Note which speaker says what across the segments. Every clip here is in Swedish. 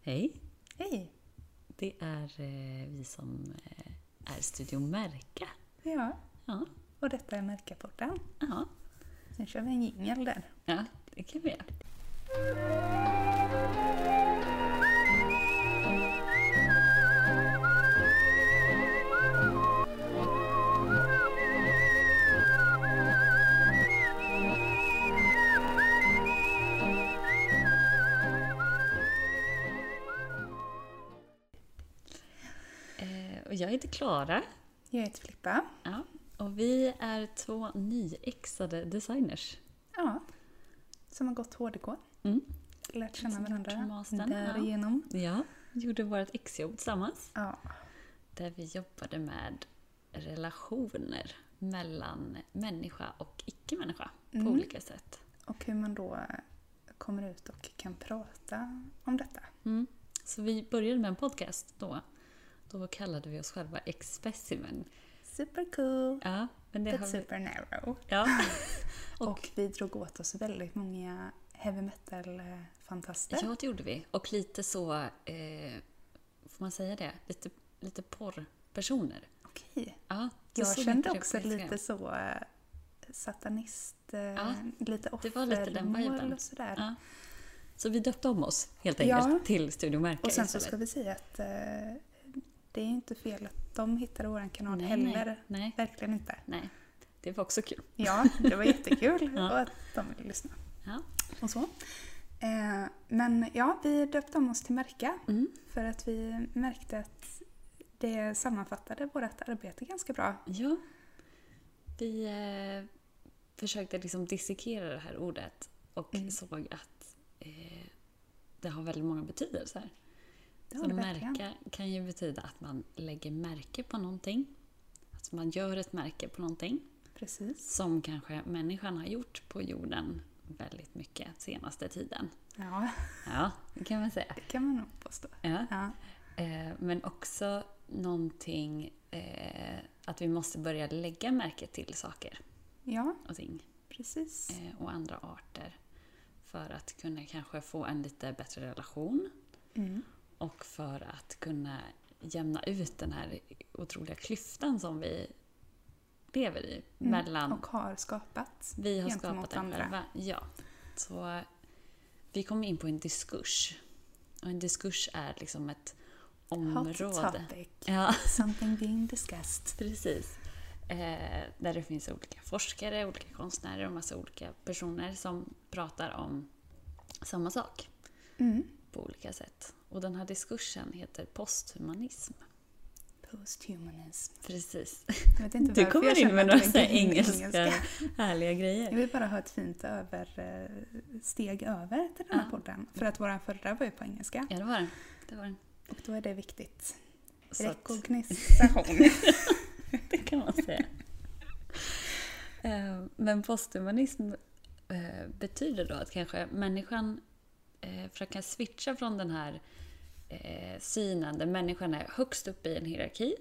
Speaker 1: Hej!
Speaker 2: Hej!
Speaker 1: Det är eh, vi som eh, är Studio Märka.
Speaker 2: Ja,
Speaker 1: Ja,
Speaker 2: och detta är Märkaporten.
Speaker 1: ja,
Speaker 2: Nu kör vi en jingel där.
Speaker 1: ja det kan vi göra. Eh, och jag heter Klara.
Speaker 2: Jag heter Filippa.
Speaker 1: Ja, och vi är två nyexade designers.
Speaker 2: Ja, som har gått HDK.
Speaker 1: Mm.
Speaker 2: Lärt känna
Speaker 1: Som gjort
Speaker 2: varandra
Speaker 1: mastern, ja.
Speaker 2: därigenom.
Speaker 1: Ja, gjorde vårt exjobb tillsammans.
Speaker 2: Ja.
Speaker 1: Där vi jobbade med relationer mellan människa och icke-människa
Speaker 2: Mm.
Speaker 1: på olika sätt.
Speaker 2: Och hur man då kommer ut och kan prata om detta.
Speaker 1: Mm. Så vi började med en podcast då. Då kallade vi oss själva Exspecimen.
Speaker 2: Supercool!
Speaker 1: Ja, men det
Speaker 2: But
Speaker 1: har vi...
Speaker 2: super narrow.
Speaker 1: Ja.
Speaker 2: Och,
Speaker 1: Och-
Speaker 2: vi drog åt oss väldigt många heavy metal-fantaster.
Speaker 1: Ja, det gjorde vi. Och lite så, eh, får man säga det? Lite, lite porrpersoner.
Speaker 2: Okej.
Speaker 1: Ja, det
Speaker 2: Jag
Speaker 1: såg
Speaker 2: kände
Speaker 1: inte det
Speaker 2: också
Speaker 1: på Instagram.
Speaker 2: lite så eh, satanist, eh,
Speaker 1: Ja,
Speaker 2: lite
Speaker 1: det var lite den
Speaker 2: offermål
Speaker 1: viben.
Speaker 2: och sådär.
Speaker 1: Ja. Så vi döpte om oss helt
Speaker 2: Ja.
Speaker 1: enkelt till Studio Märka
Speaker 2: Och sen så
Speaker 1: istället.
Speaker 2: ska vi säga att eh, det är inte fel att de hittade vår kanal
Speaker 1: nej,
Speaker 2: heller.
Speaker 1: nej, nej,
Speaker 2: Verkligen inte.
Speaker 1: nej. Det var också kul.
Speaker 2: Ja, det var jättekul
Speaker 1: Ja.
Speaker 2: och att de ville lyssna.
Speaker 1: Ja.
Speaker 2: Och så. Eh, men ja, vi döpte om oss till Märka
Speaker 1: Mm.
Speaker 2: för att vi märkte att det sammanfattade vårt arbete ganska bra.
Speaker 1: Ja. Vi eh, försökte liksom dissekera det här ordet och
Speaker 2: Mm.
Speaker 1: såg att eh, det har väldigt många betydelser.
Speaker 2: Det
Speaker 1: Så
Speaker 2: har det verkligen.
Speaker 1: märka kan ju betyda att man lägger märke på någonting. Att man gör ett märke på någonting
Speaker 2: Precis.
Speaker 1: som kanske människan har gjort på jorden väldigt mycket senaste tiden.
Speaker 2: Ja,
Speaker 1: Ja, det kan man säga.
Speaker 2: det kan man nog påstå.
Speaker 1: Ja.
Speaker 2: Ja,
Speaker 1: Eh, Men också någonting eh, att vi måste börja lägga märke till saker
Speaker 2: ja
Speaker 1: och ting
Speaker 2: precis.
Speaker 1: eh, och andra arter. För att kunna kanske få en lite bättre relation
Speaker 2: Mm.
Speaker 1: och för att kunna jämna ut den här otroliga klyftan som vi lever i.
Speaker 2: Mm.
Speaker 1: Mellan
Speaker 2: Och har skapat.
Speaker 1: vi har
Speaker 2: gentemot
Speaker 1: skapat den
Speaker 2: andra.
Speaker 1: själva. Ja. Så eh, vi kom in på en diskurs. Och en diskurs är liksom ett
Speaker 2: Hot
Speaker 1: område.
Speaker 2: topic.
Speaker 1: Ja.
Speaker 2: Something being discussed.
Speaker 1: Precis. Eh, där det finns olika forskare, olika konstnärer och massa olika personer som pratar om samma sak
Speaker 2: Mm.
Speaker 1: på olika sätt. Och den här diskursen heter posthumanism.
Speaker 2: Posthumanism.
Speaker 1: Precis.
Speaker 2: Jag vet inte
Speaker 1: Du
Speaker 2: varför
Speaker 1: kommer
Speaker 2: jag
Speaker 1: in
Speaker 2: känner
Speaker 1: med
Speaker 2: att
Speaker 1: några
Speaker 2: jag
Speaker 1: så här
Speaker 2: kan
Speaker 1: engelska härliga
Speaker 2: Jag
Speaker 1: grejer.
Speaker 2: vill bara ha ett fint över, eh, steg över till den här
Speaker 1: Ja.
Speaker 2: podden. För att vår förra var ju på engelska.
Speaker 1: Ja, det var den. Det var den.
Speaker 2: Och då är det viktigt.
Speaker 1: Så att,
Speaker 2: Rekognisation.
Speaker 1: det kan man säga. Eh, Men posthumanism eh, betyder då att kanske människan eh, försöker switcha från den här eh, synen där människan är högst upp i en hierarki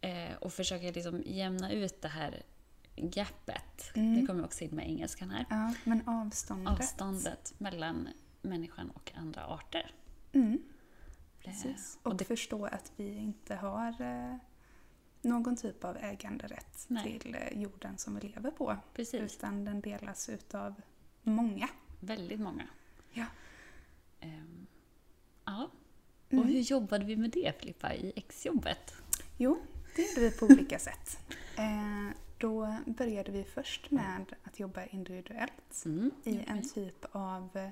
Speaker 1: eh, och försöker liksom jämna ut det här gapet.
Speaker 2: Mm.
Speaker 1: Det kommer också in med engelskan här.
Speaker 2: ja, men avståndet.
Speaker 1: Avståndet mellan människan och andra arter.
Speaker 2: Mm,
Speaker 1: Eh,
Speaker 2: precis.
Speaker 1: och
Speaker 2: Och,
Speaker 1: det-
Speaker 2: förstå att vi inte har eh, någon typ av äganderätt
Speaker 1: Nej.
Speaker 2: till eh, jorden som vi lever på.
Speaker 1: Precis,
Speaker 2: Utan den delas utav många.
Speaker 1: väldigt många.
Speaker 2: Ja.
Speaker 1: Ehm, ja.
Speaker 2: Mm.
Speaker 1: Och hur jobbade vi med det Filippa i exjobbet?
Speaker 2: Jo, det gjorde vi på olika sätt. Eh, då började vi först med att jobba individuellt
Speaker 1: Mm.
Speaker 2: i
Speaker 1: gjorde
Speaker 2: en
Speaker 1: vi.
Speaker 2: typ av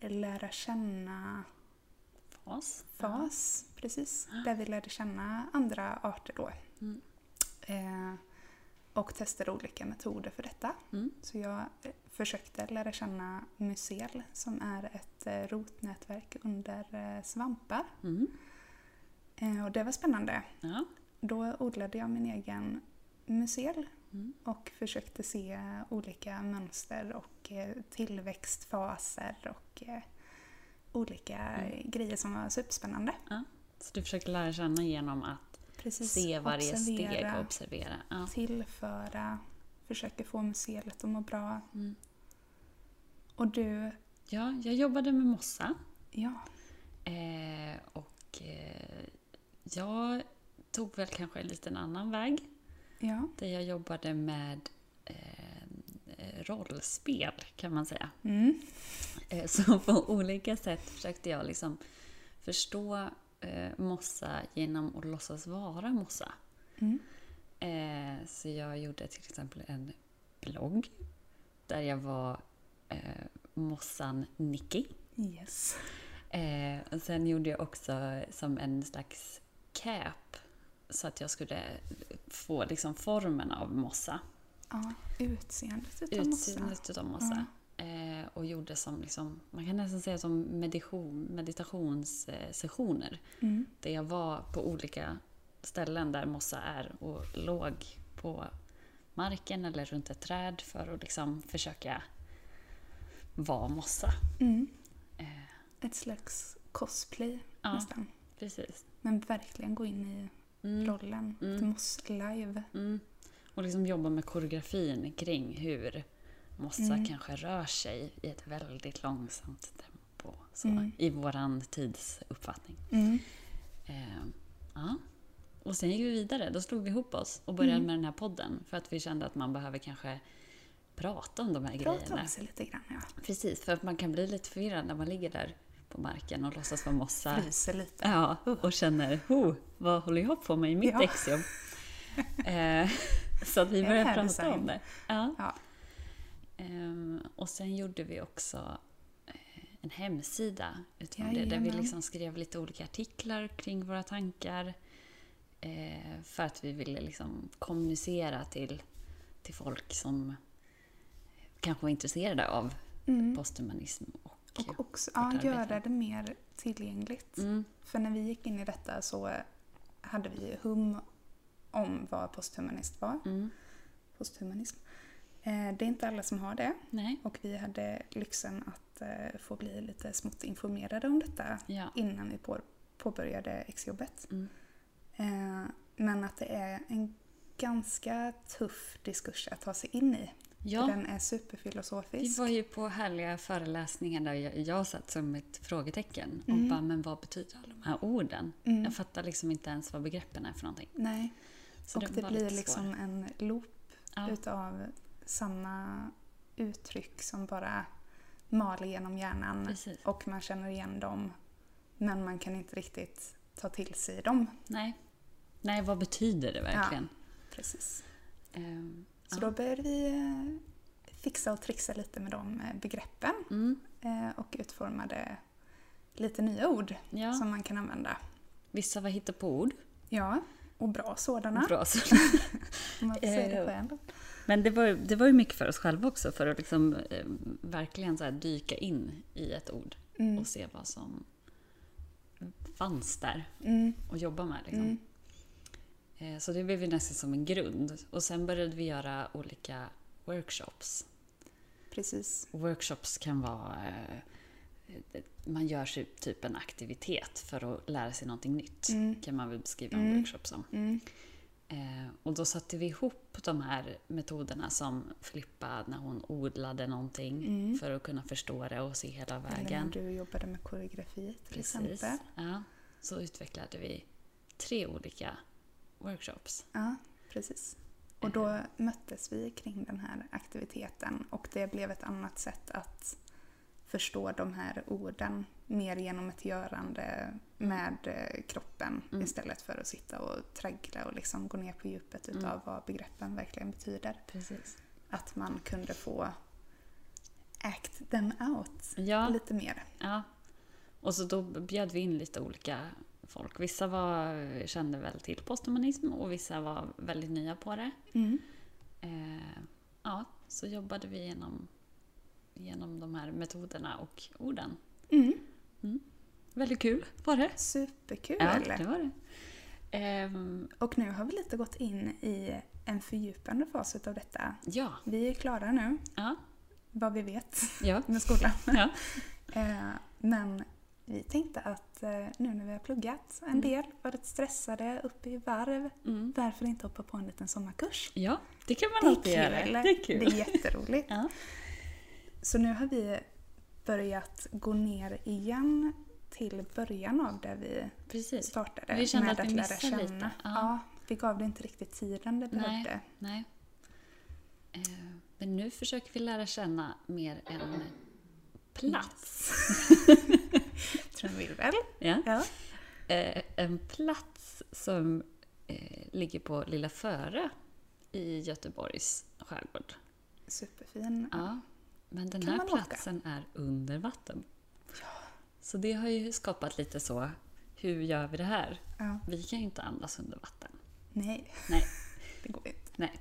Speaker 2: eh, lära känna-fas,
Speaker 1: fas.
Speaker 2: precis, där vi lärde känna andra arter då.
Speaker 1: Mm.
Speaker 2: Eh, och testade olika metoder för detta.
Speaker 1: Mm.
Speaker 2: Så jag eh, försökte lära känna mycel som är ett eh, rotnätverk under eh, svampar.
Speaker 1: Mm.
Speaker 2: Eh, och det var spännande.
Speaker 1: Ja.
Speaker 2: Då odlade jag min egen mycel
Speaker 1: Mm.
Speaker 2: och försökte se olika mönster och eh, tillväxtfaser och eh, olika
Speaker 1: Mm.
Speaker 2: grejer som var superspännande.
Speaker 1: Så du försöker lära känna genom att
Speaker 2: Precis.
Speaker 1: se varje steg och
Speaker 2: Observera,
Speaker 1: observera. Ja.
Speaker 2: tillföra, försöker få mycelet att må bra.
Speaker 1: Mm.
Speaker 2: Och du,
Speaker 1: ja, jag jobbade med mossa.
Speaker 2: ja,
Speaker 1: Eh, och eh, jag tog väl kanske en liten annan väg.
Speaker 2: Ja.
Speaker 1: Där jag jobbade med eh, rollspel kan man säga.
Speaker 2: Mm.
Speaker 1: Eh, Så på olika sätt försökte jag liksom förstå eh, Mossa genom att låtsas vara Mossa.
Speaker 2: Mm.
Speaker 1: Eh, så jag gjorde till exempel en blogg där jag var eh, Mossan Nicky.
Speaker 2: Yes.
Speaker 1: Eh, och sen gjorde jag också som en slags cap så att jag skulle få liksom formen av Mossa.
Speaker 2: Ja, utseendet utav mossan.
Speaker 1: Utseendet utav Mossa. Eh, och gjorde som, liksom, man kan nästan säga som meditation, meditationssessioner.
Speaker 2: Mm.
Speaker 1: Där jag var på olika ställen där mossa är och låg på marken eller runt ett träd för att liksom försöka vara mossa.
Speaker 2: Mm.
Speaker 1: Eh,
Speaker 2: Ett slags cosplay
Speaker 1: ja,
Speaker 2: nästan.
Speaker 1: precis.
Speaker 2: Men verkligen gå in i
Speaker 1: Mm,
Speaker 2: rollen.
Speaker 1: Mm.
Speaker 2: Mm. Moss live.
Speaker 1: mm. Och liksom jobba med koreografin kring hur mossa
Speaker 2: Mm.
Speaker 1: kanske rör sig i ett väldigt långsamt tempo. Så,
Speaker 2: Mm.
Speaker 1: I våran tidsuppfattning.
Speaker 2: Mm.
Speaker 1: Eh, ja. Och sen gick vi vidare. Då slog vi ihop oss och började
Speaker 2: Mm.
Speaker 1: med den här podden. För att vi kände att man behöver kanske prata om de här
Speaker 2: Prata
Speaker 1: grejerna.
Speaker 2: om sig lite grann. Ja.
Speaker 1: Precis, för att man kan bli lite förvirrad när man ligger där på marken och låtsas vara mossa.
Speaker 2: Fryser lite.
Speaker 1: Ja, och känner oh, vad håller jag på med i mitt
Speaker 2: Ja.
Speaker 1: exjobb? Eh, så att vi
Speaker 2: Det är
Speaker 1: började
Speaker 2: fair
Speaker 1: prata
Speaker 2: design.
Speaker 1: om det. Ja.
Speaker 2: Ja.
Speaker 1: Ehm, och sen gjorde vi också eh, en hemsida utifrån det, där vi
Speaker 2: Jajamän.
Speaker 1: liksom skrev lite olika artiklar kring våra tankar. Eh, för att vi ville liksom kommunicera till, till folk som kanske var intresserade av
Speaker 2: Mm.
Speaker 1: posthumanism. Och,
Speaker 2: Och också ja,
Speaker 1: vårt arbete.
Speaker 2: göra det mer tillgängligt.
Speaker 1: mm,
Speaker 2: För när vi gick in i detta så hade vi hum om vad posthumanist var.
Speaker 1: mm,
Speaker 2: Posthumanism. Eh, Det är inte alla som har det
Speaker 1: nej,
Speaker 2: och vi hade lyxen att eh, få bli lite smått informerade om detta
Speaker 1: ja.
Speaker 2: innan vi på- påbörjade exjobbet.
Speaker 1: Mm.
Speaker 2: Eh, Men att det är en ganska tuff diskurs att ta sig in i. För
Speaker 1: ja.
Speaker 2: Den är
Speaker 1: Vi
Speaker 2: superfilosofisk.
Speaker 1: var ju på härliga föreläsningar där jag, jag satt som ett frågetecken och
Speaker 2: Mm.
Speaker 1: bara, men vad betyder alla de här orden?
Speaker 2: Mm.
Speaker 1: Jag fattar liksom inte ens vad begreppen är för någonting.
Speaker 2: Nej.
Speaker 1: Så
Speaker 2: och
Speaker 1: den
Speaker 2: det
Speaker 1: var
Speaker 2: blir
Speaker 1: lite
Speaker 2: liksom
Speaker 1: svår.
Speaker 2: en loop
Speaker 1: Ja,
Speaker 2: utav samma uttryck som bara mal genom hjärnan
Speaker 1: precis.
Speaker 2: och man känner igen dem men man kan inte riktigt ta till sig dem.
Speaker 1: Nej. Nej, vad betyder det verkligen?
Speaker 2: Precis.
Speaker 1: Ehm,
Speaker 2: Så
Speaker 1: Ja.
Speaker 2: då började vi eh, fixa och trixa lite med de eh, begreppen
Speaker 1: Mm,
Speaker 2: eh, och utformade lite nya ord
Speaker 1: ja.
Speaker 2: som man kan använda.
Speaker 1: Vissa var hittepåord.
Speaker 2: Ja, och bra sådana.
Speaker 1: Bra sådana.
Speaker 2: Om man får säga
Speaker 1: Eh,
Speaker 2: det själv.
Speaker 1: Men det var, ju- det var ju mycket för oss själva också för att liksom, eh, verkligen så här dyka in i ett ord
Speaker 2: Mm,
Speaker 1: och se vad som fanns där
Speaker 2: mm,
Speaker 1: och jobba med. Liksom.
Speaker 2: mm,
Speaker 1: Eh, Så det blev ju nästan som en grund. Och sen började vi göra olika workshops.
Speaker 2: precis.
Speaker 1: Workshops kan vara... eh, Man gör sig typ en aktivitet för att lära sig någonting nytt.
Speaker 2: Mm,
Speaker 1: kan man väl beskriva en
Speaker 2: Mm.
Speaker 1: workshop som.
Speaker 2: mm,
Speaker 1: Eh, och då satte vi ihop de här metoderna som Filippa när hon odlade någonting
Speaker 2: Mm.
Speaker 1: för att kunna förstå det och se hela
Speaker 2: eller när
Speaker 1: vägen.
Speaker 2: du jobbade med koreografi till
Speaker 1: Precis.
Speaker 2: exempel.
Speaker 1: Ja. Så utvecklade vi tre olika workshops.
Speaker 2: Ja, precis. Och
Speaker 1: Eh.
Speaker 2: då möttes vi kring den här aktiviteten och det blev ett annat sätt att förstå de här orden mer genom ett görande med eh, kroppen
Speaker 1: Mm.
Speaker 2: istället för att sitta och traggla och liksom gå ner på djupet
Speaker 1: Mm.
Speaker 2: utav vad begreppen verkligen betyder.
Speaker 1: Precis.
Speaker 2: Att man kunde få act them out
Speaker 1: Ja,
Speaker 2: lite mer.
Speaker 1: ja. Och så då bjöd vi in lite olika folk. Vissa var, kände väl till posthumanism och vissa var väldigt nya på det.
Speaker 2: Mm.
Speaker 1: Eh, ja, så jobbade vi genom, genom de här metoderna och orden.
Speaker 2: Mm.
Speaker 1: Väldigt kul var det.
Speaker 2: Superkul!
Speaker 1: Ja, det var det. Ehm,
Speaker 2: Och nu har vi lite gått in i en fördjupande fas utav detta.
Speaker 1: ja,
Speaker 2: Vi är klara nu.
Speaker 1: ja,
Speaker 2: vad vi vet
Speaker 1: ja,
Speaker 2: med skolan.
Speaker 1: Ja.
Speaker 2: Eh, Men vi tänkte att eh, nu när vi har pluggat en
Speaker 1: Mm.
Speaker 2: del, varit stressade, uppe i varv,
Speaker 1: mm.
Speaker 2: varför inte hoppa på en liten sommarkurs?
Speaker 1: ja, det kan man alltid göra. Det är
Speaker 2: Det
Speaker 1: kul.
Speaker 2: är jätteroligt.
Speaker 1: Ja.
Speaker 2: Så nu har vi börjat gå ner igen till början av där vi
Speaker 1: Precis.
Speaker 2: startade.
Speaker 1: Vi kände
Speaker 2: med
Speaker 1: att vi missade lite,
Speaker 2: Ja.
Speaker 1: ja.
Speaker 2: vi gav det inte riktigt tiden det
Speaker 1: Nej.
Speaker 2: behövde.
Speaker 1: Nej. Eh, Men nu försöker vi lära känna mer en plats.
Speaker 2: Tror vi väl?
Speaker 1: Ja.
Speaker 2: Ja.
Speaker 1: Eh, En plats som eh, ligger på Lilla Före i Göteborgs skärgård.
Speaker 2: Superfin.
Speaker 1: Ja, men den
Speaker 2: Kan
Speaker 1: här
Speaker 2: man åka?
Speaker 1: platsen är under vatten. Så det har ju skapat lite så, hur gör vi det här?
Speaker 2: Ja.
Speaker 1: Vi kan ju inte andas under vatten.
Speaker 2: Nej,
Speaker 1: Nej.
Speaker 2: det går inte.
Speaker 1: Nej.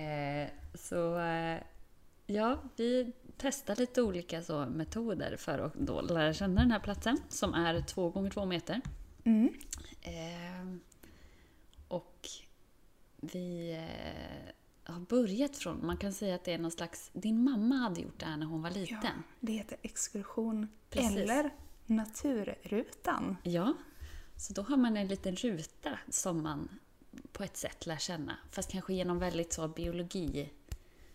Speaker 1: Eh, så eh, ja, vi testar lite olika så, metoder för att då lära känna den här platsen som är två gånger två meter.
Speaker 2: Mm.
Speaker 1: Ehm, och vi eh, har börjat från, man kan säga att det är någon slags, din mamma hade gjort det här när hon var liten.
Speaker 2: Ja, det heter exkursion
Speaker 1: Precis.
Speaker 2: eller Naturrutan.
Speaker 1: Ja, så då har man en liten ruta som man på ett sätt lär känna. Fast kanske genom väldigt så biologi.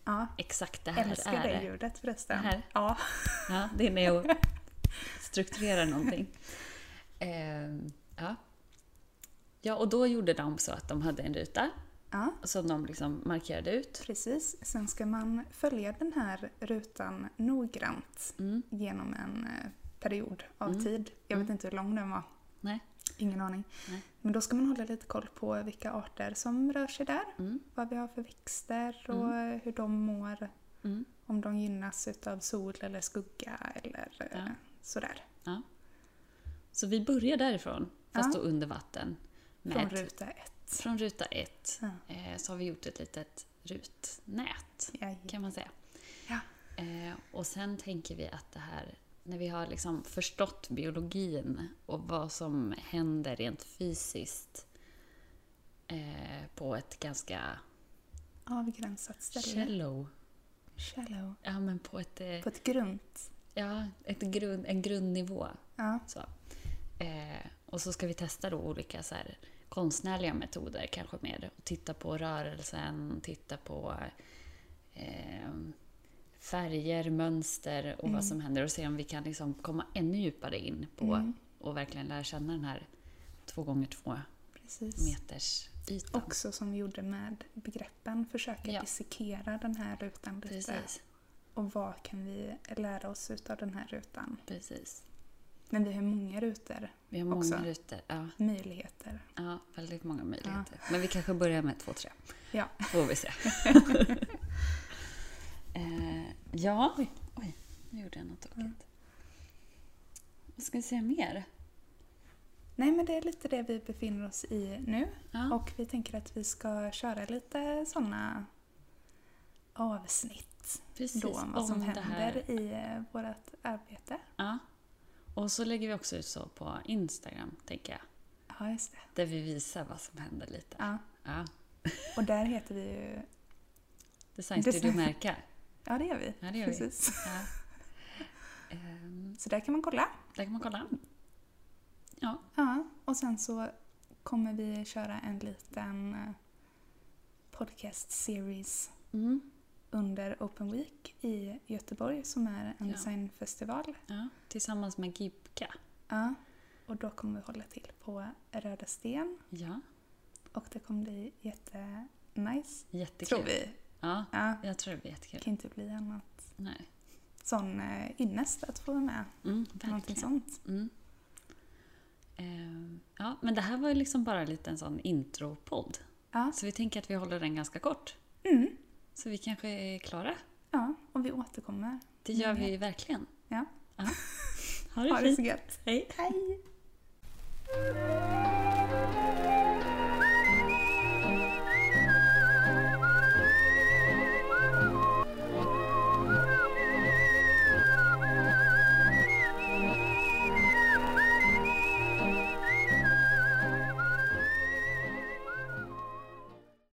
Speaker 2: Ja,
Speaker 1: Exakt det här
Speaker 2: älskar
Speaker 1: är
Speaker 2: det
Speaker 1: det.
Speaker 2: ljudet förresten.
Speaker 1: Det här?
Speaker 2: Ja.
Speaker 1: Ja, det är när jag strukturerar någonting. Ehm, ja. ja, och då gjorde de så att de hade en ruta
Speaker 2: ja,
Speaker 1: som de liksom markerade ut.
Speaker 2: precis. Sen ska man följa den här rutan noggrant
Speaker 1: Mm,
Speaker 2: genom en eh, period av
Speaker 1: Mm.
Speaker 2: tid. Jag vet inte hur lång den var.
Speaker 1: nej,
Speaker 2: Ingen aning.
Speaker 1: Nej.
Speaker 2: Men då ska man hålla lite koll på vilka arter som rör sig där.
Speaker 1: mm,
Speaker 2: Vad vi har för växter och eh, hur de mår.
Speaker 1: mm.
Speaker 2: Om de gynnas utav sol eller skugga eller eh,
Speaker 1: Ja.
Speaker 2: sådär.
Speaker 1: Så vi börjar därifrån, fast
Speaker 2: Ja.
Speaker 1: då under vatten. Med
Speaker 2: Från
Speaker 1: ett-
Speaker 2: ruta ett.
Speaker 1: från ruta ett
Speaker 2: Ja.
Speaker 1: eh, så har vi gjort ett litet rutnät.
Speaker 2: Jajamän.
Speaker 1: kan man säga.
Speaker 2: Ja.
Speaker 1: Eh, och sen tänker vi att det här, när vi har liksom förstått biologin och vad som händer rent fysiskt eh, på ett ganska
Speaker 2: Avgränsat ställe.
Speaker 1: shallow,
Speaker 2: Shallow.
Speaker 1: ja men på ett, eh,
Speaker 2: På ett grunt.
Speaker 1: ja, ett grund, en grundnivå.
Speaker 2: Ja.
Speaker 1: Så. Eh, och så ska vi testa då olika så här, konstnärliga metoder kanske mer. Och titta på rörelsen, titta på eh, färger, mönster och vad som händer och se om vi kan liksom komma ännu djupare in på
Speaker 2: Mm.
Speaker 1: och verkligen lära känna den här två gånger två
Speaker 2: Precis.
Speaker 1: meters ytan.
Speaker 2: Också som vi gjorde med begreppen, försöka
Speaker 1: Ja.
Speaker 2: dissekera den här rutan lite.
Speaker 1: Precis,
Speaker 2: Och vad kan vi lära oss utav den här rutan?
Speaker 1: precis.
Speaker 2: Men vi har många rutor,
Speaker 1: Vi har många
Speaker 2: Också.
Speaker 1: rutor. Ja,
Speaker 2: möjligheter.
Speaker 1: ja, väldigt många möjligheter. Men vi kanske börjar med två, tre.
Speaker 2: Ja,
Speaker 1: får vi se. eh, ja. Oj, oj, nu gjorde jag något tokigt.
Speaker 2: Mm.
Speaker 1: Vad ska vi säga mer?
Speaker 2: nej men det är lite det vi befinner oss i nu.
Speaker 1: Ja.
Speaker 2: Och vi tänker att vi ska köra lite sådana avsnitt
Speaker 1: Precis,
Speaker 2: då om vad som
Speaker 1: det här.
Speaker 2: händer i eh, vårt arbete.
Speaker 1: Ja. Och så lägger vi också ut så på Instagram, tänker jag.
Speaker 2: Ja, just det.
Speaker 1: Där vi visar vad som händer lite.
Speaker 2: Ja.
Speaker 1: Ja.
Speaker 2: Och där heter vi ju...
Speaker 1: Design
Speaker 2: Design.
Speaker 1: Studio Märka.
Speaker 2: Ja, det gör vi.
Speaker 1: Ja, det gör vi.
Speaker 2: Precis.
Speaker 1: Ja. Ehm,
Speaker 2: Så där kan man kolla.
Speaker 1: där kan man kolla. Ja,
Speaker 2: Ja, och sen så kommer vi köra en liten eh, podcast series
Speaker 1: mm.
Speaker 2: under Open Week i Göteborg som är en
Speaker 1: Ja.
Speaker 2: designfestival.
Speaker 1: ja. tillsammans med Gibka.
Speaker 2: Ja, och då kommer vi hålla till på Röda Sten
Speaker 1: Ja,
Speaker 2: och det kommer bli jättenice.
Speaker 1: jättekul.
Speaker 2: Tror vi.
Speaker 1: Ja,
Speaker 2: Ja,
Speaker 1: jag tror det blir
Speaker 2: det
Speaker 1: jättekul.
Speaker 2: kan inte bli annat.
Speaker 1: Nej.
Speaker 2: Sån eh, ynnest att få vara med.
Speaker 1: Mm,
Speaker 2: Någonting
Speaker 1: verkligen.
Speaker 2: sånt.
Speaker 1: Mm. Eh, Ja, men det här var ju liksom bara en liten sån intropodd.
Speaker 2: Ja.
Speaker 1: Så vi tänker att vi håller den ganska kort.
Speaker 2: Mm.
Speaker 1: Så vi kanske är klara.
Speaker 2: ja, och vi återkommer.
Speaker 1: Det gör
Speaker 2: Mm.
Speaker 1: vi verkligen.
Speaker 2: Ja.
Speaker 1: Ha det
Speaker 2: Ha det
Speaker 1: fint.
Speaker 2: så gött.
Speaker 1: Hej.
Speaker 2: Hej!